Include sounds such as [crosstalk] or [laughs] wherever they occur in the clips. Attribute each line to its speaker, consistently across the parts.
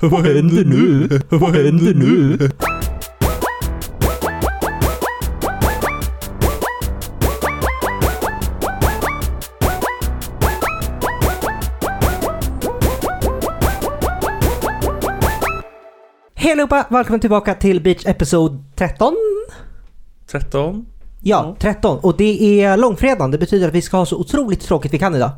Speaker 1: Vad händer nu? Vad händer nu? Hej allihopa! Välkommen tillbaka till Beach Episod 13.
Speaker 2: 13.
Speaker 1: Ja,
Speaker 2: Mm.
Speaker 1: 13. Och det är långfredagen. Det betyder att vi ska ha så otroligt tråkigt vi kan idag. Eh,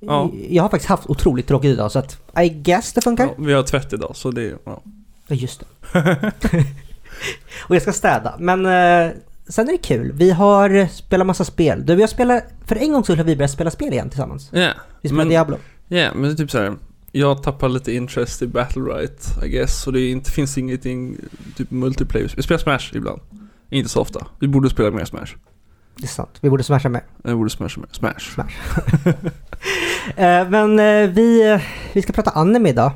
Speaker 2: Ja.
Speaker 1: Jag har faktiskt haft otroligt tråkigt idag så att I guess det funkar.
Speaker 2: ja, vi har tvätt idag så det är... Ja.
Speaker 1: Ja, just det. [laughs] och jag ska städa. Men eh, sen är det kul. Vi har spelat massa spel. Du, vi har spelat, för en gångs skull har vi börjat spela spel igen tillsammans.
Speaker 2: Yeah.
Speaker 1: Vi spelar
Speaker 2: Men,
Speaker 1: Diablo.
Speaker 2: yeah, men det är typ så här. Jag tappar lite interest i Battle Right, I guess. Så det är inte, finns ingenting, typ multiplayer. Vi spelar Smash ibland. Inte så ofta. Vi borde spela mer Smash.
Speaker 1: Det är sant. Vi borde smasha med.
Speaker 2: Vi borde smasha mer. Smash.
Speaker 1: Eh, men eh, vi, eh, vi ska prata anime idag.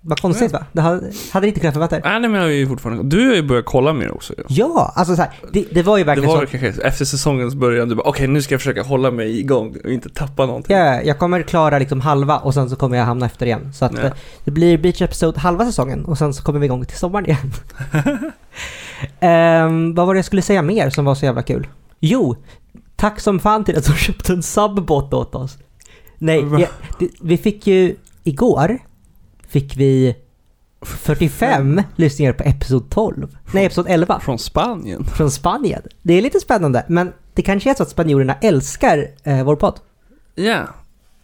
Speaker 1: Vad konstigt
Speaker 2: Mm.
Speaker 1: va? Det hade, hade det inte kunnat förvänta er.
Speaker 2: Nej, men jag har ju fortfarande... Du har ju börjat kolla mer också ju.
Speaker 1: Ja, alltså så här, det, det var ju
Speaker 2: Typ. Det
Speaker 1: verkligen
Speaker 2: var
Speaker 1: så.
Speaker 2: kanske efter säsongens början, du bara okej nu ska jag försöka hålla mig igång och inte tappa någonting.
Speaker 1: Ja, jag kommer klara liksom halva och sen så kommer jag hamna efter igen. Så att
Speaker 2: Ja.
Speaker 1: eh, det blir beach episode halva säsongen och sen så kommer vi igång till sommaren
Speaker 2: [laughs]
Speaker 1: igen. Ehm, vad var det jag skulle säga mer som var så jävla kul? Jo, tack som fan till att de [laughs] köpte en subbot åt oss. Nej,
Speaker 2: Va?
Speaker 1: jag, det, vi fick ju igår fick vi 45 lyssningar på episod 12. Nej, episod 11
Speaker 2: Från Spanien.
Speaker 1: från Spanien. Det är lite spännande, men det kanske är så att spanjorerna älskar eh, vår podd.
Speaker 2: Ja.
Speaker 1: Alltså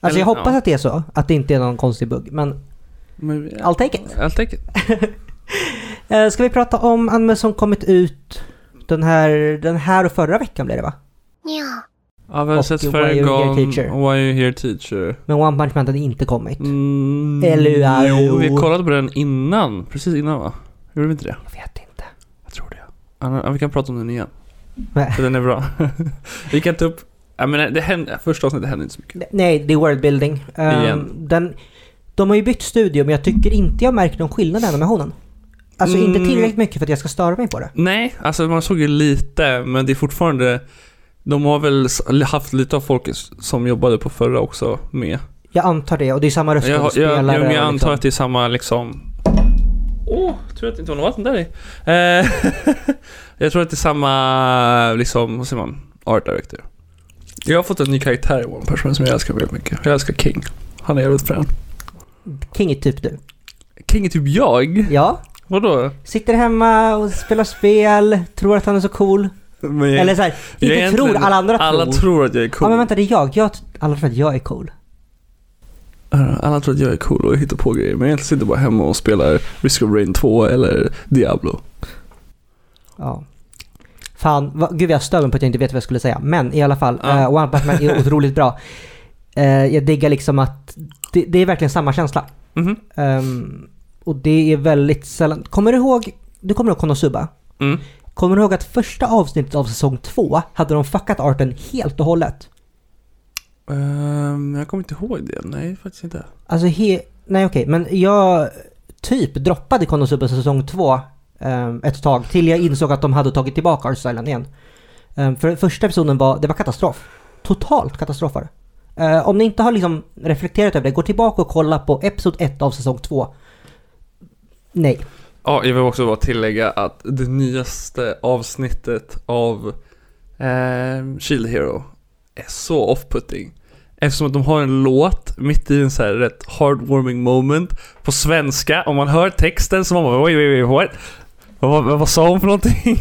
Speaker 1: jag
Speaker 2: Eller-
Speaker 1: hoppas
Speaker 2: ja.
Speaker 1: att det är så, att det inte är någon konstig bugg, men
Speaker 2: Men, ja.
Speaker 1: I'll take it.
Speaker 2: I'll take it.
Speaker 1: Eh, ska vi prata om anime som kommit ut den här, den här och förra veckan blev det va?
Speaker 3: にゃー。
Speaker 2: Ja, vi har
Speaker 1: Och
Speaker 2: sett
Speaker 1: Why
Speaker 2: Fairy
Speaker 1: You Here
Speaker 2: Gone,
Speaker 1: Teacher.
Speaker 2: Why You Here Teacher.
Speaker 1: Men One Punch Man hade inte kommit.
Speaker 2: Mm,
Speaker 1: Typ. Eller-
Speaker 2: jo, vi kollade på den innan, precis innan va? Gjorde vi inte det?
Speaker 1: Jag vet inte.
Speaker 2: Jag tror det. Ja, vi kan prata om den igen.
Speaker 1: Nej.
Speaker 2: För den är bra. vi kan ta upp, jag menar, det hände, första avsnittet hände inte så mycket.
Speaker 1: Nej, det är worldbuilding. Eh,
Speaker 2: Igen.
Speaker 1: den, de har ju bytt studio, men jag tycker inte jag märker någon skillnad i animationen. Alltså inte
Speaker 2: Mm.
Speaker 1: tillräckligt mycket för att jag ska störa mig på det.
Speaker 2: Nej, alltså man såg ju lite, men det är fortfarande de har väl s- haft lite av folk s- som jobbade på förra också med.
Speaker 1: Jag antar det, och det är samma
Speaker 2: Jag, jag,
Speaker 1: röstskådespelare.
Speaker 2: jag, jag,
Speaker 1: och
Speaker 2: antar
Speaker 1: liksom-
Speaker 2: att det är samma liksom... Åh, tror att det inte var något vatten där i. Eh, [laughs] jag tror att det är samma, liksom, vad säger man, art director. Jag har fått en ny karaktär i One Punch Man som jag älskar väldigt mycket. Jag älskar King. Han är jävligt frän.
Speaker 1: King är typ du.
Speaker 2: King är typ jag.
Speaker 1: Ja.
Speaker 2: Vadå?
Speaker 1: Sitter hemma och spelar spel, tror att han är så cool.
Speaker 2: Men jag,
Speaker 1: Eller såhär,
Speaker 2: jag är
Speaker 1: inte tror,
Speaker 2: egentligen-
Speaker 1: alla andra
Speaker 2: alla
Speaker 1: tror.
Speaker 2: tror att jag är cool.
Speaker 1: Ja men vänta, det är jag. jag t- alla tror att jag är cool.
Speaker 2: Alla tror att jag är cool och hittar på grejer. Men jag sitter bara hemma och spelar Risk of Rain 2 eller Diablo.
Speaker 1: Ja. Fan, vad, gud jag stör mig på att jag inte vet vad jag skulle säga. Men i alla fall,
Speaker 2: Ja.
Speaker 1: eh, One Punch Man
Speaker 2: [laughs]
Speaker 1: är otroligt bra. Eh, jag diggar liksom att det, det är verkligen samma känsla.
Speaker 2: Mhm.
Speaker 1: Ehm, och det är väldigt sällan. Kommer du ihåg, du kommer ihåg Konosuba?
Speaker 2: Mm.
Speaker 1: Kommer du ihåg att första avsnittet av säsong två hade de fuckat arten helt och hållet?
Speaker 2: Ehm, jag kommer inte ihåg det. Nej, faktiskt inte.
Speaker 1: Alltså he... Nej okej, men jag typ droppade Konosuba säsong två ehm, ett tag till jag insåg att de hade tagit tillbaka Arts Island igen. Ehm, för första episoden var, det var katastrof. Totalt katastrof var det. Eh, om ni inte har liksom reflekterat över det, gå tillbaka och kolla på episod 1 av säsong 2. Nej.
Speaker 2: Ja, jag vill också bara tillägga att det nyaste avsnittet av eh, Shield Hero är så off-putting. Eftersom att de har en låt mitt i en så här rätt heartwarming moment på svenska. Om man hör texten så man bara oj, oj, oj, what? Vad, vad, vad sa hon för någonting?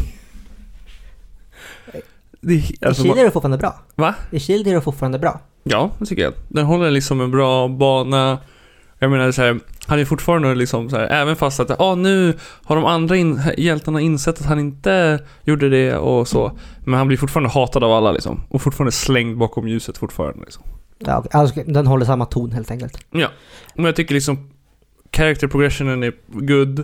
Speaker 2: Det, är- alltså,
Speaker 1: I Chile
Speaker 2: man,
Speaker 1: är det fortfarande bra.
Speaker 2: Va?
Speaker 1: I Chile är det fortfarande bra.
Speaker 2: ja, det tycker jag. Den håller liksom en bra bana. Jag menar så här, han är fortfarande liksom så här, även fast att ah, nu har de andra in, hjältarna insett att han inte gjorde det och så. Men han blir fortfarande hatad av alla liksom. Och fortfarande slängd bakom ljuset fortfarande liksom.
Speaker 1: Ja, okej. alltså, den håller samma ton helt enkelt.
Speaker 2: Men jag tycker liksom character progressionen är good.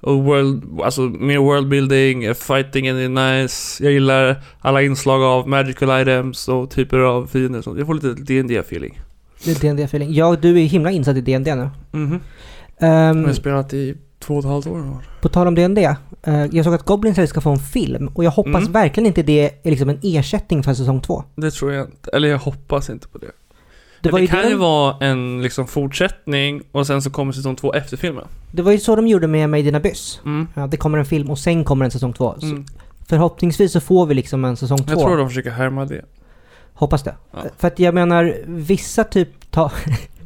Speaker 2: Och world, alltså mer worldbuilding, fightingen är nice. Jag gillar alla inslag av magical items och typer av fiender och sånt. Jag får lite dd feeling
Speaker 1: Det är D&D feeling Ja, du är himla insatt i D&D nu.
Speaker 2: Mhm.
Speaker 1: Ehm,
Speaker 2: Jag har spelat i två och ett halvt år nu.
Speaker 1: På tal om D&D, eh, jag såg att Goblin Slayer ska få en film och jag hoppas
Speaker 2: Mm.
Speaker 1: verkligen inte det är liksom en ersättning för säsong två.
Speaker 2: Det tror jag inte. Eller jag hoppas inte på det.
Speaker 1: Det, var
Speaker 2: det
Speaker 1: ju
Speaker 2: kan
Speaker 1: det,
Speaker 2: ju
Speaker 1: de-
Speaker 2: vara en liksom fortsättning och sen så kommer säsong två efter filmen.
Speaker 1: det var ju så de gjorde med Made in Abyss.
Speaker 2: Mm.
Speaker 1: Ja, det kommer en film och sen kommer en säsong Alltså, två. Så
Speaker 2: Mm.
Speaker 1: Förhoppningsvis så får vi liksom en säsong två.
Speaker 2: Jag tror de försöker härma det.
Speaker 1: Hoppas det.
Speaker 2: Ja.
Speaker 1: För att jag menar, vissa typ ta...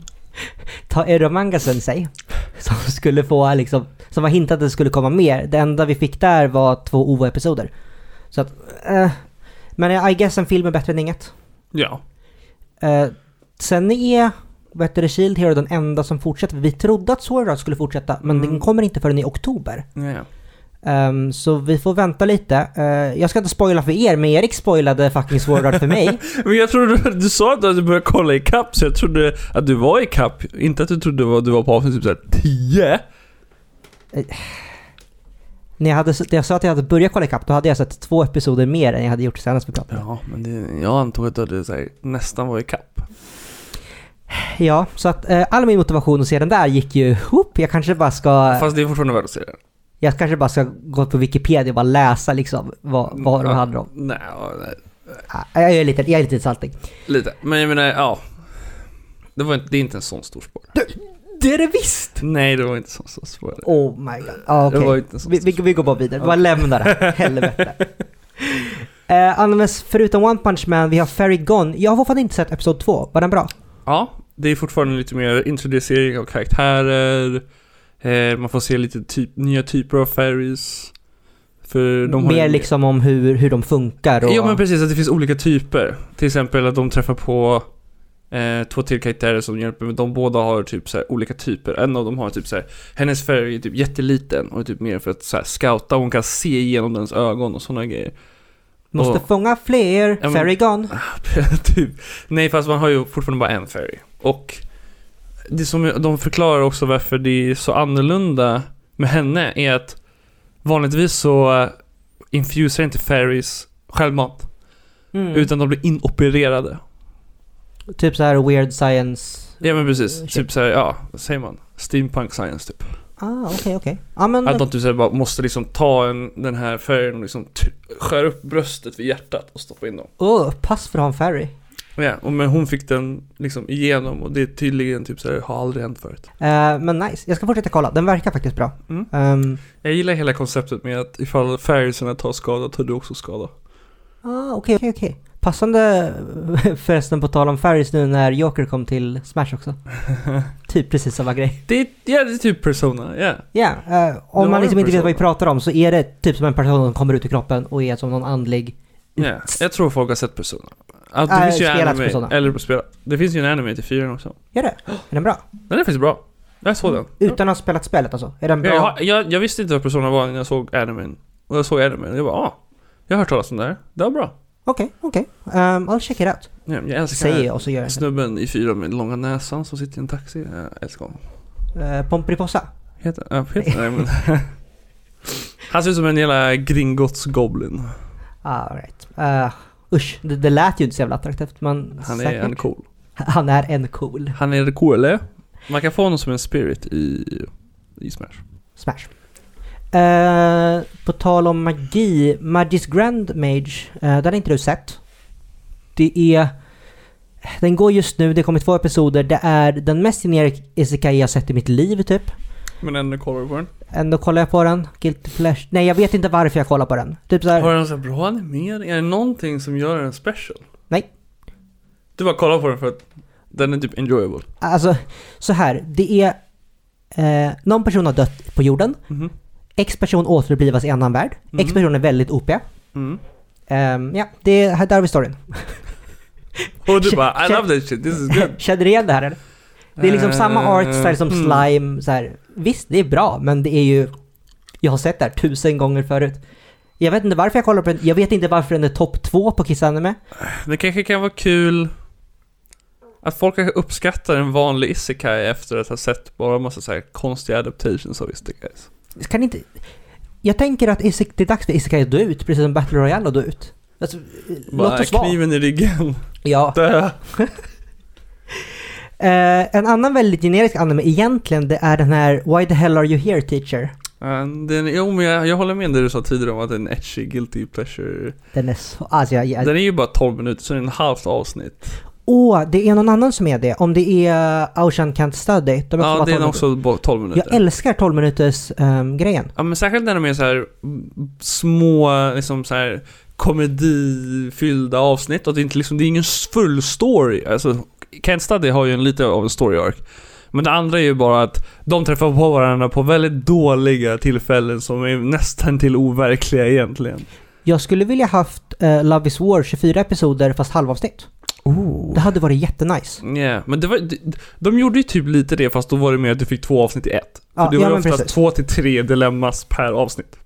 Speaker 1: [laughs] ta Eromanga Sensei. Som skulle få liksom... Som var hintat att det skulle komma mer. Det enda vi fick där var två OVA-episoder. Så att... Eh, men I guess en film är bättre än inget.
Speaker 2: Ja.
Speaker 1: Eh, sen är... Vad heter det? Shield Hero den enda som fortsätter. Vi trodde att Sword Art skulle fortsätta, men
Speaker 2: Mm.
Speaker 1: den kommer inte förrän i oktober.
Speaker 2: Ja, ja.
Speaker 1: Ehm, så vi får vänta lite. Eh, jag ska inte spoila för er, men Erik spoilade fucking Sword Art för [laughs] mig.
Speaker 2: Men jag trodde du, du sa att du började kolla i kapp så jag trodde att du var i kapp. Inte att du trodde att du var på avsnitt typ såhär 10.
Speaker 1: När jag, hade, när jag sa att jag hade börjat kolla ikapp, då hade jag sett två episoder mer än jag hade gjort senast vi pratade.
Speaker 2: Ja, men det, jag antog att du så här, nästan var i kapp.
Speaker 1: Ja, så att eh, all min motivation att se den där gick ju upp. Jag kanske bara ska...
Speaker 2: Fast det är fortfarande värt att se det.
Speaker 1: Jag kanske bara ska gå på Wikipedia och bara läsa liksom vad, vad de
Speaker 2: Ja.
Speaker 1: handlar om.
Speaker 2: Nej, ja, nej,
Speaker 1: Ah, Jag är lite, jag är lite saltig.
Speaker 2: lite. Men jag menar, ja. Det, var inte, det är inte en sån stor spår.
Speaker 1: Det är det visst!
Speaker 2: Nej, det var inte en sån stor spår.
Speaker 1: Oh my god. Ah, okej.
Speaker 2: Det var inte en sån
Speaker 1: vi,
Speaker 2: stor
Speaker 1: vi, vi går bara vidare. Vi bara lämnar det här. Helvete. Eh, Annas, förutom One Punch Man, vi har Fairy Gone. Jag har fortfarande inte sett Episod 2. Var den bra?
Speaker 2: Ja, det är fortfarande lite mer introducering av karaktärer. Eh, man får se lite typ, nya typer av fairies. För de har
Speaker 1: Mer
Speaker 2: ju-
Speaker 1: liksom om hur, hur de funkar och...
Speaker 2: Ja men precis, att det finns olika typer. Till exempel att de träffar på eh, två till karaktärer som hjälper, men de båda har typ så här, olika typer. En av dem har typ så här, hennes färg är typ jätteliten och är typ mer för att så här, scouta, hon kan se igenom dens ögon och sådana grejer.
Speaker 1: Måste
Speaker 2: och-
Speaker 1: fånga fler.
Speaker 2: men-
Speaker 1: Fairy Gone.
Speaker 2: [laughs] typ. Nej, fast man har ju fortfarande bara en fairy. Och det som de förklarar också varför det är så annorlunda med henne är att vanligtvis så eh, infusar inte fairies självmant,
Speaker 1: Mm.
Speaker 2: utan de blir inopererade.
Speaker 1: Typ så här weird science.
Speaker 2: Ja men precis,
Speaker 1: Eh,
Speaker 2: typ såhär, ja, vad säger man? Steampunk science typ.
Speaker 1: Ah, okej, okej. Ja, men...
Speaker 2: Att de typ såhär bara måste liksom ta en, den här färgen och liksom t- skär upp bröstet vid hjärtat och stoppa in dem.
Speaker 1: Åh, pass för att ha en ferry.
Speaker 2: Ja, och men hon fick den liksom igenom och det är tydligen typ såhär, har aldrig hänt förut.
Speaker 1: Eh, men nice. Jag ska fortsätta kolla. Den verkar faktiskt bra.
Speaker 2: Mm.
Speaker 1: Ehm,
Speaker 2: Jag gillar hela konceptet med att ifall färgelserna tar skada tar du också skada.
Speaker 1: ah, okej, okej, okej. Passande [laughs] förresten på tal om ferries nu när Joker kom till Smash
Speaker 2: [laughs]
Speaker 1: också. typ precis samma grej.
Speaker 2: Det är, ja, det är typ Persona, ja.
Speaker 1: Ja, eh,
Speaker 2: har
Speaker 1: om man
Speaker 2: en
Speaker 1: liksom inte vet vad vi
Speaker 2: persona.
Speaker 1: pratar om så är det typ som en person som kommer ut ur kroppen och är som någon andlig.
Speaker 2: ja. Jag tror folk har sett Persona. Att det
Speaker 1: Äh,
Speaker 2: finns ju
Speaker 1: spelat
Speaker 2: anime,
Speaker 1: Persona.
Speaker 2: eller spelat. Det finns ju en anime till fyran också.
Speaker 1: Gör
Speaker 2: [gasps]
Speaker 1: det? Är den bra? Mm.
Speaker 2: Den är faktiskt bra. Jag såg den.
Speaker 1: Utan att ha spelat spelet alltså? Är den bra?
Speaker 2: Jag, jag, jag, jag visste inte vad Persona var när jag såg animen. Och jag såg animen och jag bara ah, jag har hört talas om det här. Det var bra.
Speaker 1: Okej, okej. Ehm, I'll check it out.
Speaker 2: Ja, jag älskar den
Speaker 1: Säger
Speaker 2: här
Speaker 1: jag och så gör jag det.
Speaker 2: snubben i fyran med långa näsan som sitter i en taxi. Jag älskar honom.
Speaker 1: Eh, Pomperipossa?
Speaker 2: Heter, äh,
Speaker 1: [laughs]
Speaker 2: heter, nej, men. Han ser ut som en jävla Gringotts Goblin.
Speaker 1: All right. Eh, usch, det, det lät ju inte så jävla attraktivt men
Speaker 2: Han är
Speaker 1: säkert.
Speaker 2: en cool.
Speaker 1: [laughs] Han är en cool
Speaker 2: Han är cool, eller? Man kan få honom som en spirit i, i Smash.
Speaker 1: smash. Eh, på tal om magi, Magis Grand Mage, eh, den har inte du sett. Det är... Den går just nu, det kommer två episoder. Det är den mest generic isekai jag sett i mitt liv typ.
Speaker 2: Men ändå kollar du på den.
Speaker 1: Ändå kollar jag på den. Guilty Pleasure. Nej jag vet inte varför jag kollar på den. Typ såhär...
Speaker 2: Har den så här bra animering? Är det någonting som gör den special?
Speaker 1: Nej.
Speaker 2: Du bara kollar på den för att den är typ enjoyable.
Speaker 1: Alltså, så här. Det är... Eh, någon person har dött på jorden.
Speaker 2: Mhm.
Speaker 1: X person återupplivas i annan värld.
Speaker 2: Mm.
Speaker 1: X person är väldigt OP.
Speaker 2: Mm.
Speaker 1: Ehm, ja, det är, här- där har vi storyn.
Speaker 2: Och du bara I love that shit, this is good.
Speaker 1: Känner du igen det här eller? [laughs] Det är liksom samma art style som
Speaker 2: Mm.
Speaker 1: slime. Så här. Visst, det är bra, men det är ju... Jag har sett det här tusen gånger förut. Jag vet inte varför jag kollar på den. Jag vet inte varför den är topp två på Kiss Anime.
Speaker 2: Det kanske kan vara kul att folk kanske uppskattar en vanlig isekai efter att ha sett bara en massa så här konstiga adaptations av isekais.
Speaker 1: Kan inte... Jag tänker att isek- det är dags för Isekai att dö ut, precis som Battle Royale att dö ut. Alltså, låt
Speaker 2: Bara
Speaker 1: oss vara.
Speaker 2: kniven i ryggen, [laughs]
Speaker 1: Ja.
Speaker 2: dö.
Speaker 1: Eh, en annan väldigt generisk anime egentligen, det är den här Why the hell are you here teacher?
Speaker 2: Ja, Den, jo men jag, jag håller med det du sa tidigare om att det är en etchy guilty pleasure.
Speaker 1: Den är så... Alltså jag, jag,
Speaker 2: Den är ju bara 12 minuter, så det är en halvt avsnitt.
Speaker 1: Åh, det är någon annan som är det. Om det är Ocean Can't Study. De
Speaker 2: Ja,
Speaker 1: bara
Speaker 2: det är
Speaker 1: 12
Speaker 2: också bo- 12 minuter.
Speaker 1: minuter. Jag älskar 12 minuters ehm, grejen.
Speaker 2: Ja men särskilt när de är så här mm, små, liksom så här komedifyllda avsnitt och det är inte liksom, det är ingen full story. Alltså, Can't Study har ju en lite av en story arc. Men det andra är ju bara att de träffar på varandra på väldigt dåliga tillfällen som är nästan till overkliga egentligen.
Speaker 1: Jag skulle vilja haft eh, Love Is War 24 episoder fast halvavsnitt.
Speaker 2: Oh.
Speaker 1: Det hade varit jättenice.
Speaker 2: Yeah. men det var, de, de gjorde ju typ lite det fast då var det mer att du fick två avsnitt i ett.
Speaker 1: Ja,
Speaker 2: För det var
Speaker 1: ja,
Speaker 2: ju
Speaker 1: men
Speaker 2: oftast
Speaker 1: precis.
Speaker 2: två till tre dilemmas per avsnitt.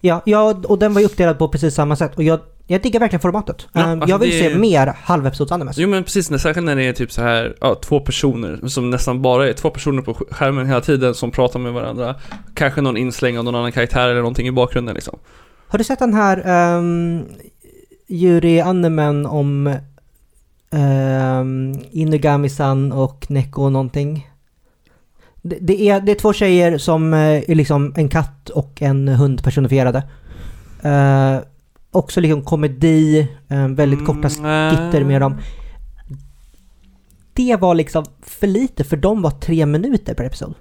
Speaker 1: Ja, ja, och den var ju uppdelad på precis samma sätt. Och jag, jag diggar verkligen formatet.
Speaker 2: Ja,
Speaker 1: Ehm,
Speaker 2: alltså
Speaker 1: jag vill
Speaker 2: det-
Speaker 1: se mer halvepisods-animes.
Speaker 2: Alltså, Jo men precis, när- särskilt när det är typ så här, ja, två personer som nästan bara är två personer på sk- skärmen hela tiden som pratar med varandra. Kanske någon insläng av någon annan karaktär eller någonting i bakgrunden liksom.
Speaker 1: Har du sett den här um, Yuri Annemen om um, Inugami-san och Neko någonting? Det, det, är, det är två tjejer som eh, är liksom en katt och en hund personifierade. Eh, också liksom komedi, eh, väldigt
Speaker 2: Mm,
Speaker 1: korta skitter med dem. Det var liksom för lite, för de var tre minuter per episod.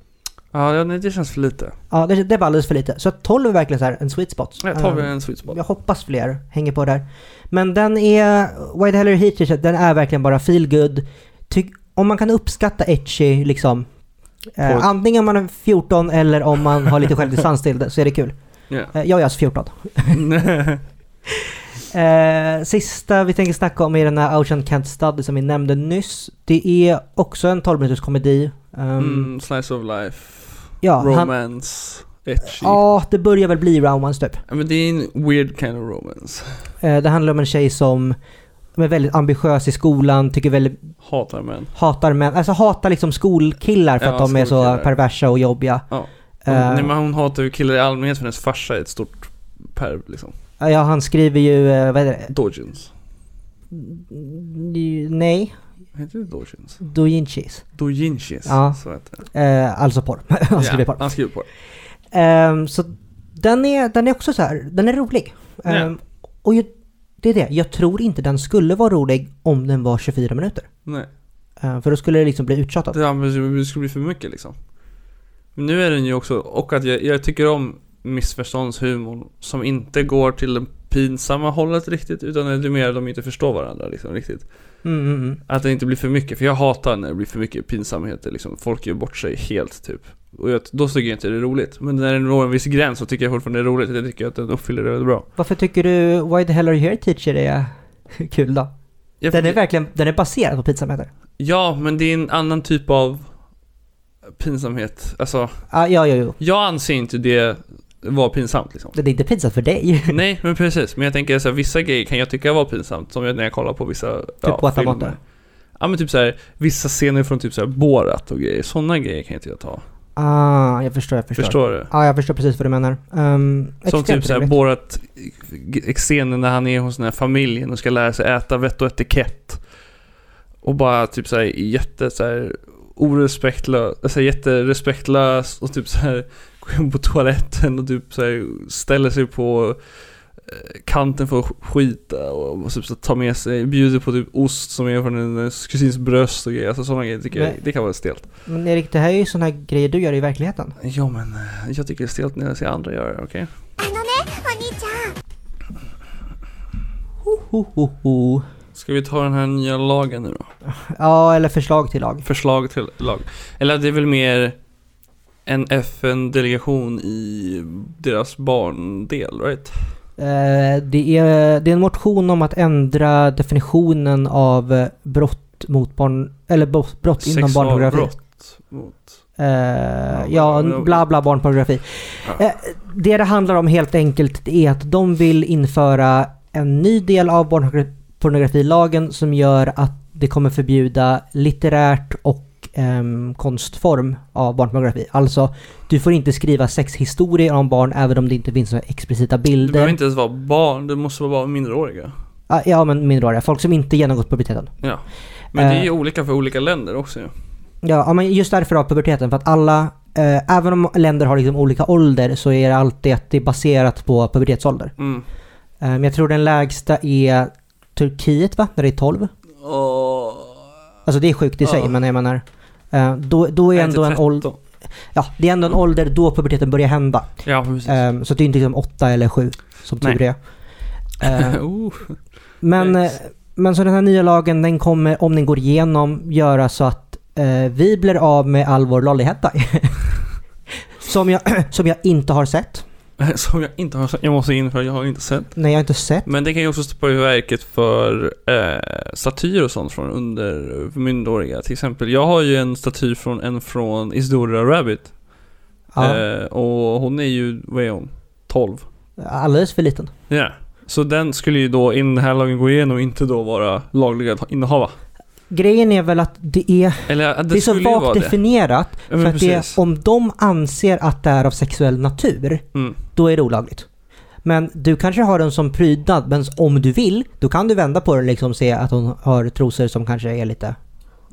Speaker 2: Ja, ja, nej, det känns för lite.
Speaker 1: Ja, det, det var alldeles för lite. Så att 12 är verkligen så här en sweet spot.
Speaker 2: Jag tar vi
Speaker 1: Eh,
Speaker 2: en sweet spot.
Speaker 1: jag hoppas fler hänger på där. Men den är, Why the Hell Are You Here t-shirt, den är verkligen bara feel good. Tyck, om man kan uppskatta etchy liksom,
Speaker 2: På-
Speaker 1: eh, antingen om man är 14 eller om man har lite självdistans till det så är det kul. [laughs]
Speaker 2: Ja.
Speaker 1: Eh, jag är alltså 14.
Speaker 2: Mm,
Speaker 1: Eh, sista vi tänker snacka om är den här Ocean Can't Study som vi nämnde nyss. Det är också en 12 minuters komedi. Ehm,
Speaker 2: mm, slice of life,
Speaker 1: ja, han,
Speaker 2: romance, etchy.
Speaker 1: ja, det börjar väl bli romance typ.
Speaker 2: Ja, Men det är en weird kind of romance.
Speaker 1: Eh, det handlar om en tjej som som är väldigt ambitiös i skolan, tycker väldigt
Speaker 2: Hatar män.
Speaker 1: hatar män, alltså hatar liksom skolkillar för
Speaker 2: Ja,
Speaker 1: att de är så
Speaker 2: skolkillar.
Speaker 1: perversa och jobbiga.
Speaker 2: Ja. Hon,
Speaker 1: Eh,
Speaker 2: nej, men hon hatar ju killar i allmänhet för hennes farsa är ett stort perv liksom.
Speaker 1: ja, han skriver ju, eh, vad heter det?
Speaker 2: Dojins.
Speaker 1: Mm, Nej,
Speaker 2: Heter det Dojins?
Speaker 1: doujinshis.
Speaker 2: Dojinshis.
Speaker 1: Ja.
Speaker 2: Så heter det.
Speaker 1: Eh, alltså porr. [laughs] han skriver porr.
Speaker 2: Han skriver på det.
Speaker 1: Ehm, så den är, den är också så här, den är rolig. Ehm, Och ju, det är det, jag tror inte den skulle vara rolig om den var 24 minuter.
Speaker 2: Nej,
Speaker 1: Ehm, för då skulle det liksom bli uttjatat.
Speaker 2: det, men det skulle bli för mycket liksom. Men nu är den ju också, och att jag, jag tycker om missförståndshumor som inte går till det pinsamma hållet riktigt, utan det är mer att de inte förstår varandra liksom riktigt.
Speaker 1: Mm, mm, mm.
Speaker 2: Att det inte blir för mycket, för jag hatar när det blir för mycket pinsamheter liksom. Folk gör bort sig helt typ. Och jag, då tycker jag inte det är roligt. Men när det når en viss gräns så tycker jag fortfarande det är roligt, jag tycker att den uppfyller det väldigt bra.
Speaker 1: Varför tycker du Why the hell are you here teacher är [laughs] kul då?
Speaker 2: Jag,
Speaker 1: Den är verkligen, den är baserad på pinsamheter.
Speaker 2: ja, men det är en annan typ av pinsamhet. Alltså,
Speaker 1: Ah, ja, ja, jo.
Speaker 2: Jag anser inte det var
Speaker 1: [laughs]
Speaker 2: pinsamt liksom.
Speaker 1: Det är inte pinsamt för dig. [laughs]
Speaker 2: Nej, men precis. Men jag tänker så här, vissa grejer kan jag tycka var pinsamt, som jag- när jag kollar på vissa typ
Speaker 1: Watamote.
Speaker 2: Ja men typ så här, vissa scener från typ så här Borat och grejer, sådana grejer kan jag inte ta.
Speaker 1: Ah, jag förstår, jag förstår.
Speaker 2: Förstår, du?
Speaker 1: Ja, jag förstår precis vad du menar. Um,
Speaker 2: Som typ så här Borat, scenen när han är hos den här familjen och ska lära sig äta vett och etikett. Och bara typ så här jätte så här orespektlös, alltså jätterespektlös och typ så här [laughs] går in på toaletten och typ så här ställer sig på eh, kanten för att sk- skita och, och typ så här tar med sig, bjuder på typ ost som är från en eh, kusins bröst och grejer, alltså sådana grejer tycker jag,
Speaker 1: Nej.
Speaker 2: det kan vara stelt.
Speaker 1: Men Erik, det här är ju sådana här grejer du gör i verkligheten.
Speaker 2: Ja men eh, jag tycker det är stelt när jag ser andra göra det, okej?
Speaker 3: あのねお兄ちゃん
Speaker 1: Ho, ho, ho.
Speaker 2: Ska vi ta den här nya lagen nu då?
Speaker 1: Ja, eller förslag till lag.
Speaker 2: förslag till lag. Eller det är väl mer en FN-delegation i deras barndel, right?
Speaker 1: Eh, det, är, det är en motion om att ändra definitionen av eh, brott mot barn... Eller bo- brott inom barnpornografi.
Speaker 2: Sexualbrott mot...
Speaker 1: Eh,
Speaker 2: Ja,
Speaker 1: ja,
Speaker 2: men-
Speaker 1: bla bla barnpornografi.
Speaker 2: Ja.
Speaker 1: Eh, det det handlar om helt enkelt är att de vill införa en ny del av barnpornografilagen som gör att det kommer förbjuda litterärt och ehm, konstform av barnpornografi. Alltså, du får inte skriva sexhistorier om barn även om det inte finns några explicita
Speaker 2: Det
Speaker 1: bilder.
Speaker 2: behöver inte ens vara barn, det måste vara minderåriga.
Speaker 1: Ah, ja, men minderåriga. Folk som inte genomgått puberteten.
Speaker 2: Ja. Men det är ju
Speaker 1: Eh.
Speaker 2: olika för olika länder också ju.
Speaker 1: Ja, ja, men just därför av puberteten. För att alla, eh, även om länder har liksom olika ålder så är det alltid att det är baserat på pubertetsålder.
Speaker 2: Mm.
Speaker 1: Eh, men jag tror den lägsta är Turkiet va? När det är 12.
Speaker 2: Och
Speaker 1: Alltså det är sjukt i sig,
Speaker 2: Ja.
Speaker 1: men jag menar... eh, Då, då är
Speaker 2: Nej,
Speaker 1: ändå
Speaker 2: till
Speaker 1: en ålder,
Speaker 2: 13.
Speaker 1: ja, det är ändå en ålder då puberteten börjar hända.
Speaker 2: Ja, precis.
Speaker 1: Ehm, så det är inte liksom åtta eller sju, som tur är. Ehm,
Speaker 2: [laughs] oh.
Speaker 1: men, eh,
Speaker 2: Nice.
Speaker 1: men så den här nya lagen, den kommer, om den går igenom, göra så att eh, vi blir av med all vår lollihettaj. [laughs] som, jag, [clears throat] som jag inte har sett.
Speaker 2: Som jag inte har sett. Jag måste införa, jag har inte sett.
Speaker 1: Nej, jag har inte sett.
Speaker 2: Men det kan ju också stå på i verket för eh, statyer och sånt från undermyndiga. Till exempel, jag har ju en staty från en från Isidora Rabbit.
Speaker 1: Ja,
Speaker 2: Eh, och hon är ju, vad är hon? 12.
Speaker 1: alldeles för liten.
Speaker 2: Ja. Så den skulle ju då, in den här lagen går igenom, inte då vara laglig att innehava. Grejen
Speaker 1: Grejen är väl att det är,
Speaker 2: Eller ja, det,
Speaker 1: det är så
Speaker 2: skulle ju vara
Speaker 1: vagt
Speaker 2: det.
Speaker 1: definierat.
Speaker 2: Ja,
Speaker 1: För
Speaker 2: men
Speaker 1: att det,
Speaker 2: precis.
Speaker 1: om de anser att det är av sexuell natur,
Speaker 2: Mm.
Speaker 1: då är det olagligt. Men du kanske har den som prydnad, men om du vill, då kan du vända på den liksom och se att hon har trosor som kanske är lite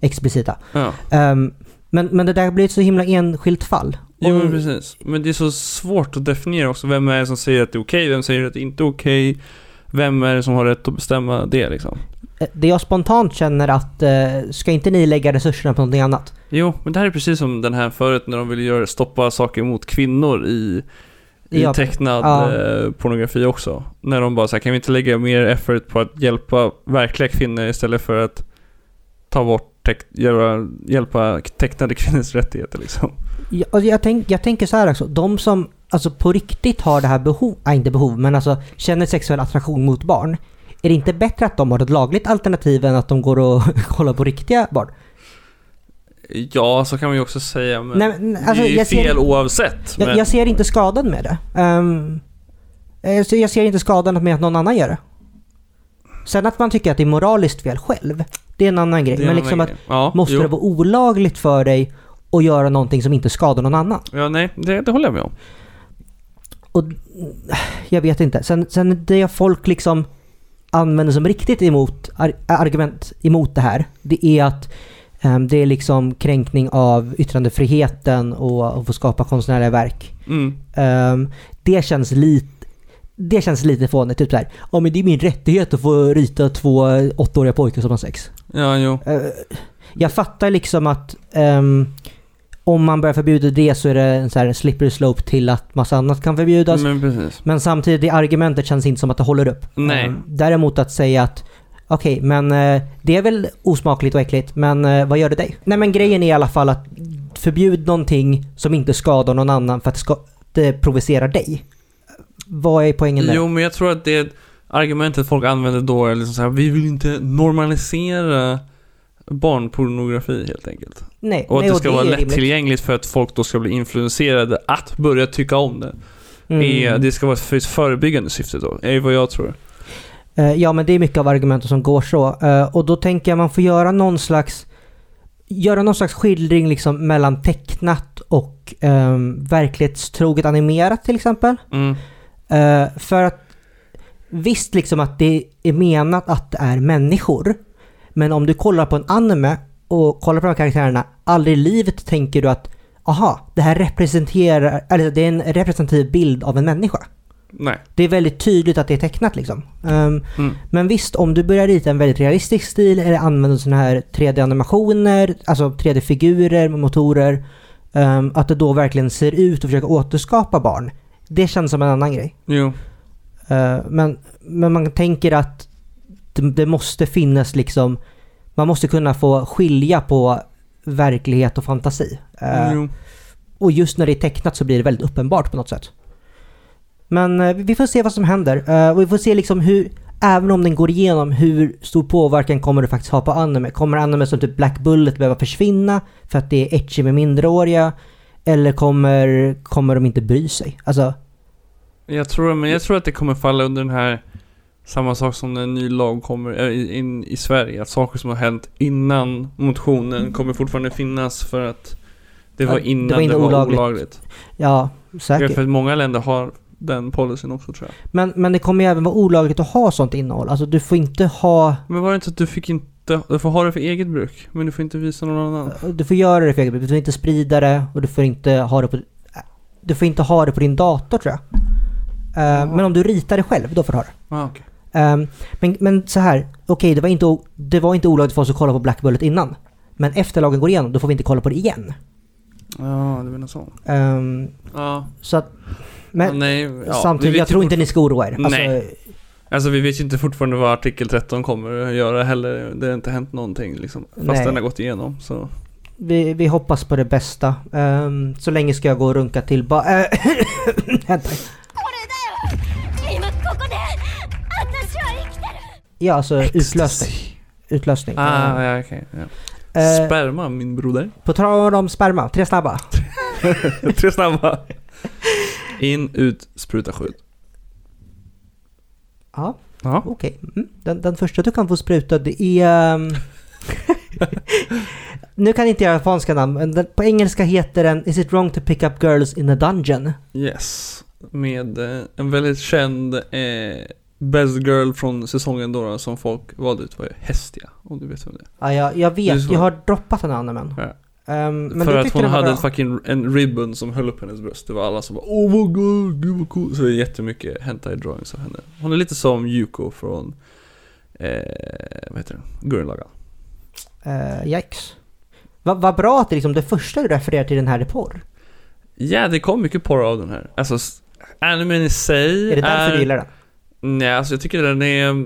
Speaker 1: explicita.
Speaker 2: Ja.
Speaker 1: Ehm, men, men det där blir ett så himla enskilt fall.
Speaker 2: Jo,
Speaker 1: Och-
Speaker 2: men precis. Men det är så svårt att definiera också. Vem är det som säger att det är okej? Vem säger att det inte är okej? Vem är det som har rätt att bestämma det liksom?
Speaker 1: eh, det jag spontant känner att, eh, ska inte ni lägga resurserna på någonting annat?
Speaker 2: Jo, men det här är precis som den här förut när de ville göra, stoppa saker mot kvinnor i, i
Speaker 1: Ja,
Speaker 2: tecknad
Speaker 1: ja.
Speaker 2: eh, pornografi också. När de bara så här, kan vi inte lägga mer effort på att hjälpa verkliga kvinnor istället för att ta bort teck, göra, hjälpa tecknade kvinnors rättigheter liksom.
Speaker 1: Jag, och alltså, jag, tänk, jag tänker så här också, de som alltså, på riktigt har det här behov, nej inte behov, men alltså känner sexuell attraktion mot barn. Är det inte bättre att de har ett lagligt alternativ än att de går och [laughs] kollar på riktiga barn?
Speaker 2: Ja, så kan man ju också säga, men
Speaker 1: Nej, men, alltså,
Speaker 2: det är ju
Speaker 1: jag ser-
Speaker 2: fel oavsett.
Speaker 1: Jag,
Speaker 2: men,
Speaker 1: jag ser inte skadan med det. Ehm, eh, så jag ser inte skadan med att någon annan gör det. Sen att man tycker att det är moraliskt fel själv, det är en annan grej.
Speaker 2: det är
Speaker 1: Men
Speaker 2: en
Speaker 1: liksom
Speaker 2: annan
Speaker 1: att
Speaker 2: grej. ja,
Speaker 1: måste
Speaker 2: jo.
Speaker 1: det vara olagligt för dig att göra någonting som inte skadar någon annan?
Speaker 2: Ja, nej, det, det håller jag med om.
Speaker 1: Och jag vet inte. Sen, sen det folk liksom använder som riktigt emot, ar, argument emot det här, det är att ehm, det är liksom kränkning av yttrandefriheten och att få skapa konstnärliga verk.
Speaker 2: Mm.
Speaker 1: Ehm, det känns lite det känns lite fånigt. Typ såhär, ja men det är min rättighet att få rita två eh, åttaåriga pojkar som har sex.
Speaker 2: Ja, jo.
Speaker 1: Eh, jag fattar liksom att ehm, om man börjar förbjuda det så är det en så här slippery slope till att massa annat kan förbjudas.
Speaker 2: Men precis.
Speaker 1: Men samtidigt, det argumentet känns inte som att det håller upp.
Speaker 2: Nej.
Speaker 1: Eh, Däremot att säga att okej, men eh, det är väl osmakligt och äckligt, men eh, vad gör det dig? Nej men grejen är i alla fall att förbjud någonting som inte skadar någon annan för att ska, det provocerar dig. Vad är poängen där?
Speaker 2: Jo, men jag tror att det argumentet folk använder då är liksom så här, vi vill inte normalisera barnpornografi helt enkelt.
Speaker 1: Nej,
Speaker 2: Och att
Speaker 1: nej,
Speaker 2: det ska
Speaker 1: är
Speaker 2: vara
Speaker 1: rimligt.
Speaker 2: lättillgängligt för att folk då ska bli influenserade att börja tycka om det. Är,
Speaker 1: Mm.
Speaker 2: det ska vara för ett förebyggande syfte då, är vad jag tror.
Speaker 1: Eh, Ja men det är mycket av argumenten som går så. Eh, Och då tänker jag man får göra någon slags Göra någon slags skildring liksom mellan tecknat och um, verklighetstroget animerat till exempel.
Speaker 2: Mm.
Speaker 1: Eh, för att visst liksom att det är menat att det är människor. Men om du kollar på en anime och kollar på de här karaktärerna, aldrig i livet tänker du att aha, det här representerar, eller det är en representativ bild av en människa.
Speaker 2: Nej.
Speaker 1: Det är väldigt tydligt att det är tecknat liksom. Ehm,
Speaker 2: Mm.
Speaker 1: men visst, om du börjar rita en väldigt realistisk stil eller använder sådana här 3D-animationer, alltså 3D-figurer, motorer, ehm, att det då verkligen ser ut och försöka återskapa barn. Det känns som en annan grej.
Speaker 2: Jo.
Speaker 1: Eh, men, men man tänker att det, det måste finnas liksom, man måste kunna få skilja på verklighet och fantasi. Eh,
Speaker 2: jo.
Speaker 1: och just när det är tecknat så blir det väldigt uppenbart på något sätt. Men eh, vi får se vad som händer. Eh, och vi får se liksom hur, även om den går igenom, hur stor påverkan kommer det faktiskt ha på anime? Kommer anime som typ Black Bullet behöva försvinna för att det är etchy med minderåriga? Eller kommer, kommer de inte bry sig? Alltså,
Speaker 2: Jag tror, men jag tror att det kommer falla under den här samma sak som när en ny lag kommer äh, in i Sverige. Att saker som har hänt innan motionen kommer fortfarande finnas för att det
Speaker 1: Mm. Ja,
Speaker 2: var
Speaker 1: det var
Speaker 2: innan det var,
Speaker 1: inte olagligt.
Speaker 2: olagligt.
Speaker 1: ja,
Speaker 2: Ja,
Speaker 1: säkert.
Speaker 2: för att många länder har den policyn också tror jag.
Speaker 1: Men, men det kommer ju även vara olagligt att ha sånt innehåll. Alltså du får inte ha...
Speaker 2: Men var det inte att du fick inte, du får ha det för eget bruk, men du får inte visa någon annan?
Speaker 1: Du får göra det för eget bruk. Du får inte sprida det och du får inte ha det på... Du får inte ha det på din dator tror jag. Eh, Men om du ritar det själv, då får du ha det.
Speaker 2: Ah, okej.
Speaker 1: Ehm, men, men så här, okej det var inte o- det var inte olagligt för oss att kolla på Black Bullet innan. Men efter lagen går igenom, då får vi inte kolla på det igen.
Speaker 2: Ja, det menar så.
Speaker 1: Ehm,
Speaker 2: Ja,
Speaker 1: så att...
Speaker 2: men,
Speaker 1: Men
Speaker 2: nej. Ja, vi
Speaker 1: samtidigt,
Speaker 2: vet
Speaker 1: jag
Speaker 2: ju
Speaker 1: tror inte
Speaker 2: fortfar-
Speaker 1: ni ska oroa er. Alltså,
Speaker 2: Nej. Alltså vi vet ju inte fortfarande vad artikel 13 kommer att göra heller. Det har inte hänt någonting liksom. Fast
Speaker 1: Nej.
Speaker 2: den har gått igenom så.
Speaker 1: Vi, vi hoppas på det bästa. Ehm, så länge ska jag gå och runka till ba- [coughs] eh, vänta.
Speaker 3: だよ今ここで私は生きてる
Speaker 1: Ja, alltså utlösning. Utlösning.
Speaker 2: Ah, ja, okej. ja.
Speaker 1: Ehm,
Speaker 2: Sperma min broder. [laughs]
Speaker 1: på tal om sperma, tre snabba.
Speaker 2: Tre snabba. In, ut, spruta, skjut.
Speaker 1: Ja,
Speaker 2: Ja.
Speaker 1: okej. Mm. Den, den första du kan få sprutad är... ehm, [laughs] nu kan inte jag japanska namn, men den, på engelska heter den Is it wrong to pick up girls in a dungeon?
Speaker 2: Yes. Med eh, en väldigt känd eh, Best Girl från säsongen då som folk valde ut var ju Hestia. Om du vet vem det är.
Speaker 1: Ja, jag, jag
Speaker 2: Det är
Speaker 1: vet,
Speaker 2: så.
Speaker 1: jag har droppat den animen.
Speaker 2: Ja.
Speaker 1: Ehm, men
Speaker 2: För
Speaker 1: du
Speaker 2: att
Speaker 1: tyckte
Speaker 2: hon
Speaker 1: den var
Speaker 2: hade
Speaker 1: bra.
Speaker 2: en fucking en ribbon som höll upp hennes bröst. Det var alla som bara Oh my god, gud vad cool. Så det är jättemycket hentai drawings av henne. Hon är lite som Yuko från eh, vad heter den? Gurren Lagann.
Speaker 1: Eh, yikes. Va- Vad bra att det, liksom, det första du refererar till den här är porr.
Speaker 2: Ja, det kom mycket porr av den här. Alltså, s- animen i sig
Speaker 1: Är det därför
Speaker 2: Eh,
Speaker 1: du gillar den?
Speaker 2: Nej, alltså jag tycker den är...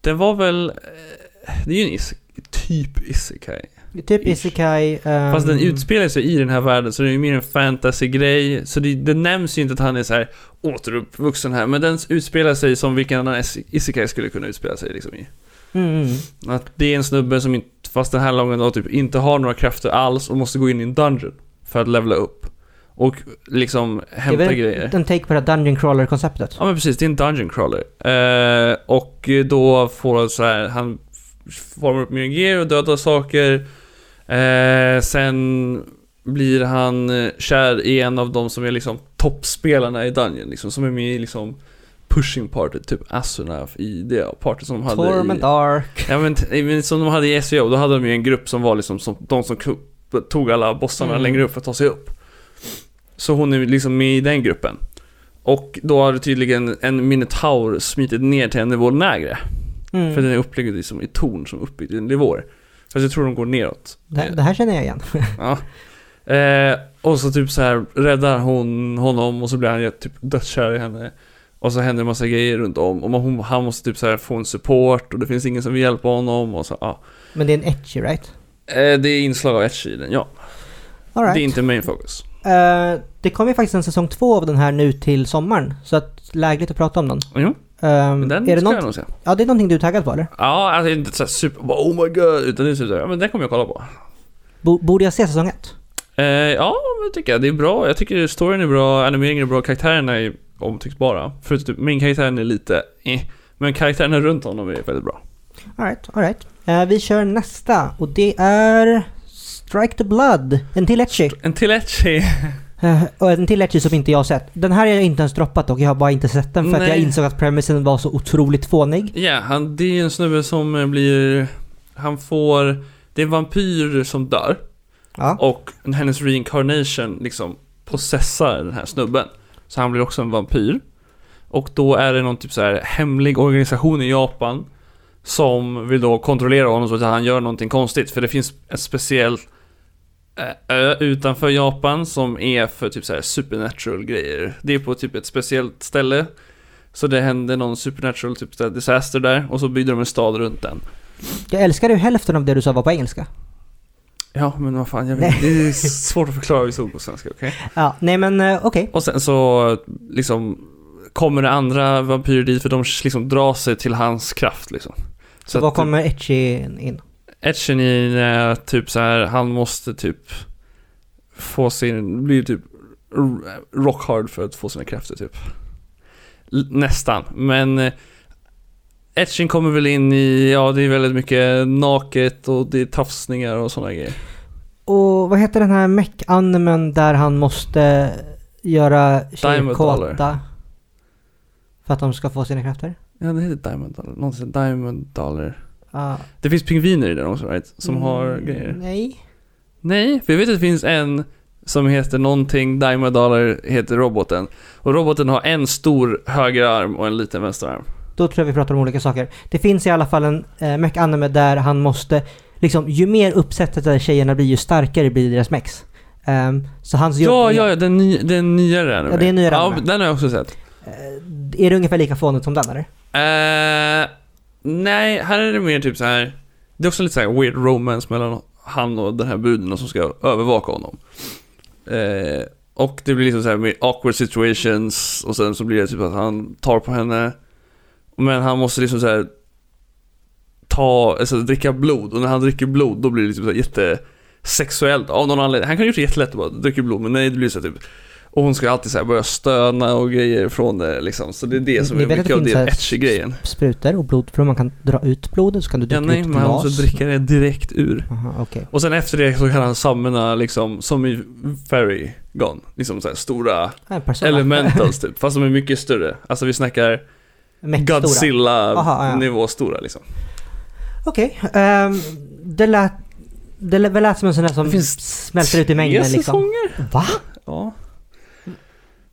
Speaker 2: Den var väl... eh, Det är ju en is, typ isekai.
Speaker 1: Typ
Speaker 2: ish.
Speaker 1: Isekai... ehm,
Speaker 2: Fast den utspelar sig i den här världen, så det är ju mer en fantasy-grej. Så det, det nämns ju inte att han är så här återuppvuxen här, men den utspelar sig som vilken annan is- isekai skulle kunna utspela sig liksom i.
Speaker 1: Mm, mm.
Speaker 2: Att det är en snubbe som inte, fast den här lången då typ inte har några krafter alls och måste gå in i en dungeon för att levla upp. Och liksom
Speaker 1: det är
Speaker 2: hämta grejer.
Speaker 1: väl en take på det här Dungeon Crawler-konceptet.
Speaker 2: Ja men precis, det är en dungeon crawler. Eh, och då får han så här, han formar upp myrger och dödar saker. Eh, sen blir han eh, kär i en av de som är liksom toppspelarna i dungeon liksom, som är med i liksom pushing party, typ Asunav i det party som de hade
Speaker 1: Torment
Speaker 2: i...
Speaker 1: Ark.
Speaker 2: Ja men, t- men som de hade i SEO, då hade de ju en grupp som var liksom som, de som ku- tog alla bossarna
Speaker 1: Mm.
Speaker 2: längre upp för att ta sig upp. Så hon är liksom med i den gruppen. Och då har tydligen en minotaur smitit ner till en nivå lägre.
Speaker 1: Mm.
Speaker 2: För den är uppbyggd liksom i torn som är uppbyggd i nivåer. Fast jag tror de går neråt.
Speaker 1: Det, här- det här känner jag igen. [laughs]
Speaker 2: Ja. Eh, och så typ så här räddar hon honom och så blir han jätte- typ dödskär i henne. Och så händer en massa grejer runt om och man, hon, han måste typ så här få en support och det finns ingen som vill hjälpa honom och så, ja.
Speaker 1: Men det är en etchy, right?
Speaker 2: Eh, Det är inslag av etch i den, ja.
Speaker 1: All right.
Speaker 2: Det är inte main focus.
Speaker 1: Eh, det kommer ju faktiskt en säsong två av den här nu till sommaren. Så att lägligt att prata om den.
Speaker 2: Jo,
Speaker 1: Ehm,
Speaker 2: men den
Speaker 1: är det
Speaker 2: ska
Speaker 1: något,
Speaker 2: jag nog se.
Speaker 1: Ja, det är någonting du är taggad på eller?
Speaker 2: Ja, alltså inte såhär super, bara, oh my god, utan det är typ såhär, ja men den kommer jag kolla på.
Speaker 1: Bo, borde jag se säsong ett?
Speaker 2: Eh, ja, men det tycker jag. Det är bra. Jag tycker storyn är bra, animeringen är bra, karaktärerna är omtyckbara. Förutom typ, min karaktären är lite eh, men karaktärerna runt honom är väldigt bra.
Speaker 1: All right, all right. Eh, vi kör nästa och det är Strike the Blood. En till etchy.
Speaker 2: En till etchi.
Speaker 1: Eh, och en till etchy som inte jag har sett. Den här har jag inte ens droppat och jag har bara inte sett den för att
Speaker 2: Nej.
Speaker 1: jag insåg att premisen var så otroligt fånig.
Speaker 2: Ja, han, det är en snubbe som eh, blir, han får, det är en vampyr som dör.
Speaker 1: Ja.
Speaker 2: Och hennes reincarnation liksom processar den här snubben. Så han blir också en vampyr. Och då är det någon typ så här hemlig organisation i Japan som vill då kontrollera honom så att han gör någonting konstigt. För det finns en speciell eh, ö utanför Japan som är för typ så här supernatural grejer. Det är på typ ett speciellt ställe. Så det händer någon supernatural typ så här disaster där och så bygger de en stad runt den.
Speaker 1: Jag älskar hur hälften av det du sa var på engelska.
Speaker 2: Ja, men vad fan, jag vet, det är svårt att förklara vissa ord på svenska, okej?
Speaker 1: Ja, nej men eh, okej.
Speaker 2: Och sen så liksom kommer det andra vampyrer dit för de liksom drar sig till hans kraft liksom.
Speaker 1: Så
Speaker 2: att eh,
Speaker 1: var kommer etchy in?
Speaker 2: Etchen i eh, typ så här, han måste typ få sin, blir typ r- rock hard för att få sina krafter typ. L- nästan, men eh, Etchen kommer väl in i, ja det är väldigt mycket naket och det är tafsningar och sådana grejer.
Speaker 1: Och vad heter den här mech-animen där han måste göra tjejer
Speaker 2: Diamond
Speaker 1: kåta? För att de ska få sina krafter?
Speaker 2: Ja det heter Diamond Dollar, någonsin Diamond Dollar.
Speaker 1: Ja.
Speaker 2: Det finns pingviner i den också right? Som har
Speaker 1: Mm,
Speaker 2: grejer.
Speaker 1: Nej.
Speaker 2: Nej, för jag vet att det finns en som heter någonting, Diamond Dollar heter roboten. Och roboten har en stor höger arm och en liten vänster arm.
Speaker 1: då tror jag vi pratar om olika saker. Det finns i alla fall en eh, mech-anime där han måste, liksom ju mer uppsättet där tjejerna blir ju starkare blir deras mechs. Ehm, så hans jobb
Speaker 2: Ja,
Speaker 1: är-
Speaker 2: ja, ja, den, ny, den nyare anime.
Speaker 1: Ja, det är en nyare
Speaker 2: Ja,
Speaker 1: anime.
Speaker 2: den har jag också sett.
Speaker 1: Är det ungefär lika fånigt som den eller?
Speaker 2: Eh, nej, här är det mer typ så här. Det är också lite så här weird romance mellan han och den här bruden som ska övervaka honom. Eh, och det blir liksom så här mer awkward situations och sen så blir det typ att han tar på henne. Men han måste liksom så här ta, alltså dricka blod och när han dricker blod då blir det liksom så här jättesexuellt av någon anledning. Han kan ju gjort det jättelätt att bara dricka blod men nej det blir så här typ och hon ska alltid så här börja stöna och grejer från det liksom. Så det är det som
Speaker 1: Ni
Speaker 2: är
Speaker 1: vet att
Speaker 2: mycket
Speaker 1: det
Speaker 2: av
Speaker 1: finns
Speaker 2: det
Speaker 1: så här
Speaker 2: etchy grejen.
Speaker 1: Sprutor och blodprov, man kan dra ut blodet så kan du
Speaker 2: Ja,
Speaker 1: dricka
Speaker 2: nej,
Speaker 1: ut
Speaker 2: men han måste dricka det direkt ur.
Speaker 1: Aha, okej.
Speaker 2: Och sen efter det så kan han samla liksom, som i Fairy Gone, liksom så här stora
Speaker 1: En person. [laughs]
Speaker 2: elementals typ, fast de är mycket större. Alltså vi snackar
Speaker 1: Mäktstora. Aha, ja.
Speaker 2: Godzilla-nivå stora liksom.
Speaker 1: Okej, ehm, det lät... Det lät väl lät som en sån där som
Speaker 2: Det finns
Speaker 1: smälter ut i mängden
Speaker 2: Tre
Speaker 1: liksom.
Speaker 2: säsonger?
Speaker 1: Va?
Speaker 2: Ja.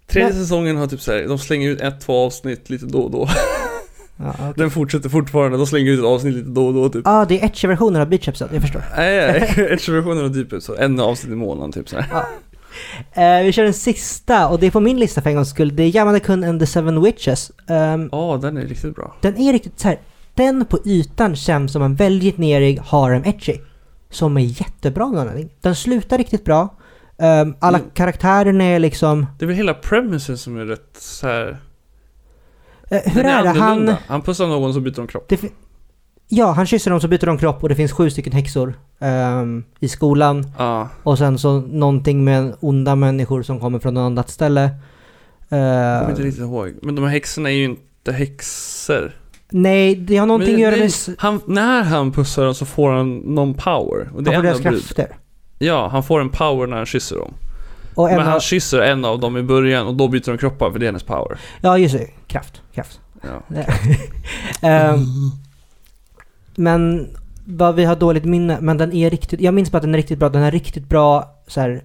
Speaker 2: Tredje
Speaker 1: Men-
Speaker 2: säsongen har typ så här, de slänger ut ett, två avsnitt lite då och då. [laughs]
Speaker 1: Ja, okej.
Speaker 2: Den fortsätter fortfarande, de slänger ut ett avsnitt lite då och då typ.
Speaker 1: ah, det är Etch-versionen av Beach Episode, jag förstår.
Speaker 2: Nej, [laughs] Edge-versionen har typ så, en avsnitt i månaden typ så här.
Speaker 1: Eh, vi kör den sista och det är på min lista för en gångs skull. Det är Yamada Kun and the Seven Witches. Ehm,
Speaker 2: Ja, den är riktigt bra.
Speaker 1: den är riktigt så här. den på ytan känns som en väldigt nerig harem etchy. Som är jättebra av någon anledning. Den slutar riktigt bra. Ehm, alla
Speaker 2: Mm.
Speaker 1: karaktärerna är liksom...
Speaker 2: Det är väl hela premisen som är rätt så här.
Speaker 1: Eh, hur
Speaker 2: den
Speaker 1: är, det? Han...
Speaker 2: annorlunda. Han pussar någon så byter de kropp.
Speaker 1: Det fi- ja, han kysser dem så byter de kropp och det finns sju stycken häxor ehm, i skolan.
Speaker 2: Ja.
Speaker 1: Och sen så någonting med onda människor som kommer från något annat ställe.
Speaker 2: Jag
Speaker 1: Ehm,
Speaker 2: kommer inte riktigt ihåg. Men de här häxorna är ju inte häxor.
Speaker 1: nej, det har någonting
Speaker 2: Men
Speaker 1: att göra
Speaker 2: det-
Speaker 1: med... s-
Speaker 2: Han, när han pussar dem så får han någon power. Och
Speaker 1: Han får
Speaker 2: det är en
Speaker 1: deras
Speaker 2: av brud.
Speaker 1: krafter.
Speaker 2: Ja, han får en power när han kysser dem.
Speaker 1: Och en
Speaker 2: Men
Speaker 1: av,
Speaker 2: han kysser en av dem i början och då byter de kroppar för det är hennes power.
Speaker 1: ja, just det. Kraft. Kraft.
Speaker 2: Ja.
Speaker 1: Ehm, men vad vi har dåligt minne, men den är riktigt... Jag minns bara att den är riktigt bra. Den har riktigt bra så här,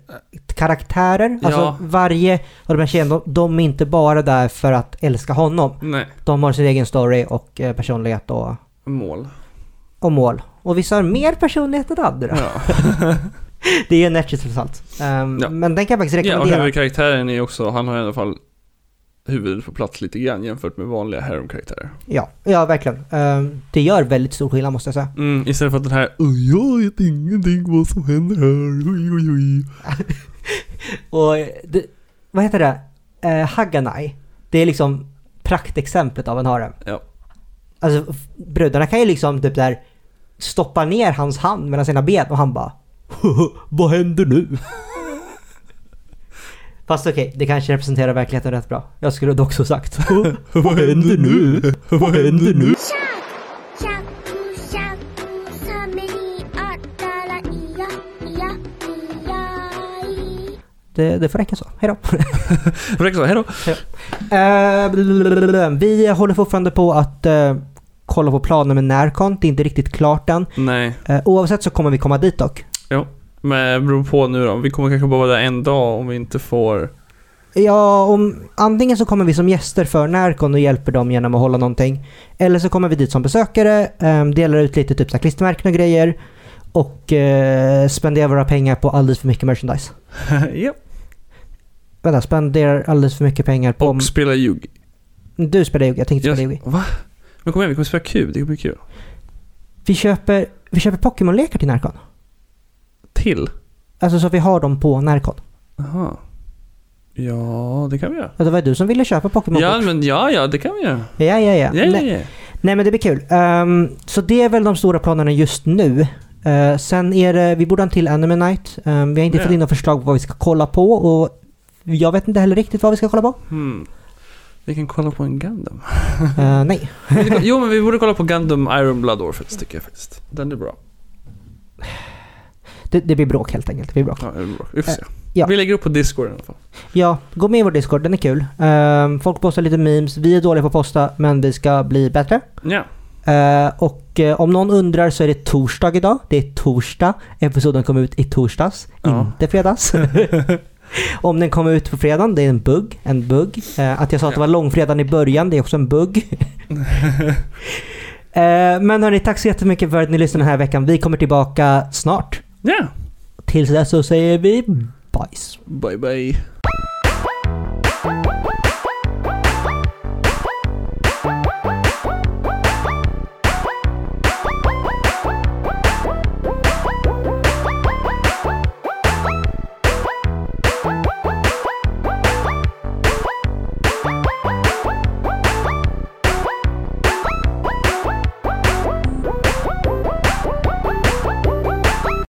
Speaker 1: karaktärer. Alltså
Speaker 2: Ja.
Speaker 1: varje av de här tjejerna, de, de är inte bara där för att älska honom.
Speaker 2: Nej,
Speaker 1: De har sin egen story och eh, personlighet och,
Speaker 2: mål.
Speaker 1: och mål. Och vissa har mer personlighet än andra.
Speaker 2: Ja. [laughs]
Speaker 1: Det är en Netchis trots allt. Ehm,
Speaker 2: Ja.
Speaker 1: Men den kan jag faktiskt
Speaker 2: ja, och
Speaker 1: rekommendera.
Speaker 2: huvudkaraktären är också, han har i alla fall huvudet på plats lite grann jämfört med vanliga harem-karaktärer.
Speaker 1: Ja, ja verkligen. Ehm, det gör väldigt stor skillnad måste jag säga.
Speaker 2: Mm, istället för att den här "Oj, jag vet ingenting vad som händer här, oj oj oj.
Speaker 1: Och eh, det, vad heter det? Uh, Haganai. Det är liksom praktexemplet av en harem.
Speaker 2: Ja.
Speaker 1: Alltså f- brudarna kan ju liksom typ där stoppa ner hans hand mellan sina ben och han bara [laughs] Vad händer nu? Fast okej, det kanske representerar verkligheten rätt bra. Jag skulle dock också sagt Vad händer nu? Vad händer nu?
Speaker 3: シャークシャークシャークサメにあったらいやいやいやい
Speaker 1: [laughs] Det, det får räcka så. Hejdå.
Speaker 2: Räcker så, hejdå.
Speaker 1: [laughs] Eh, blablabla. vi håller fortfarande på att eh, kolla på planen med Närcon. Det är inte riktigt klart än.
Speaker 2: Nej,
Speaker 1: Eh, oavsett så kommer vi komma dit dock.
Speaker 2: men det beror på nu då. Vi kommer kanske bara vara där en dag om vi inte får...
Speaker 1: Ja, om, antingen så kommer vi som gäster för Närcon och hjälper dem genom att hålla någonting. Eller så kommer vi dit som besökare, eh, delar ut lite typ så här klistermärken och grejer. Och eh, spenderar våra pengar på alldeles för mycket merchandise.
Speaker 2: [laughs] ja.
Speaker 1: Vänta, spenderar alldeles för mycket pengar på...
Speaker 2: Och spela Yugi.
Speaker 1: Du spelar Yugi, jag tänkte
Speaker 2: Jag-
Speaker 1: spela Yugi.
Speaker 2: Va? Men kom igen, vi kommer spela kub. Det kommer bli kul.
Speaker 1: Vi köper, vi köper Pokémon-lekar till Närcon.
Speaker 2: Till?
Speaker 1: Alltså så att vi har dem på Närcon.
Speaker 2: Aha. Ja, det kan vi göra.
Speaker 1: Ja, Det var du som ville köpa Pokémon
Speaker 2: Ja,
Speaker 1: ja,
Speaker 2: men ja, ja, det kan vi göra.
Speaker 1: ja, ja, ja.
Speaker 2: Ja, ja,
Speaker 1: Nej,
Speaker 2: ja.
Speaker 1: nej, men det blir kul. Ehm, så det är väl de stora planerna just nu. Eh, sen är det, vi borde ha en till Anime Night. Ehm, vi har inte
Speaker 2: Ja.
Speaker 1: fått in några förslag på vad vi ska kolla på och jag vet inte heller riktigt vad vi ska kolla på.
Speaker 2: Hmm. Vi kan kolla på en Gundam.
Speaker 1: Eh, nej.
Speaker 2: jo, men [laughs] vi borde kolla på Gundam Iron Blood Orphans tycker jag faktiskt. Den är bra.
Speaker 1: Det, det blir bråk helt enkelt. Det blir bråk.
Speaker 2: Ja, den är bra. Vi får se.
Speaker 1: Eh, ja.
Speaker 2: Vi lägger upp på Discord i alla fall.
Speaker 1: Ja, gå med i vår Discord, den är kul. Ehm, folk postar lite memes, vi är dåliga på att posta men vi ska bli bättre.
Speaker 2: Ja.
Speaker 1: Eh, och eh, om någon undrar så är det torsdag idag. Det är torsdag. Episoden kom ut i torsdags,
Speaker 2: Ja.
Speaker 1: inte fredags. Om den kommer ut på fredagen, det är en bugg. En bugg. Eh, att jag sa att det var långfredagen i början, det är också en bugg. eh, men hörni, tack så jättemycket för att ni lyssnade den här veckan. Vi kommer tillbaka snart.
Speaker 2: Ja,
Speaker 1: Tills dess så säger vi bajs.
Speaker 2: bye bye.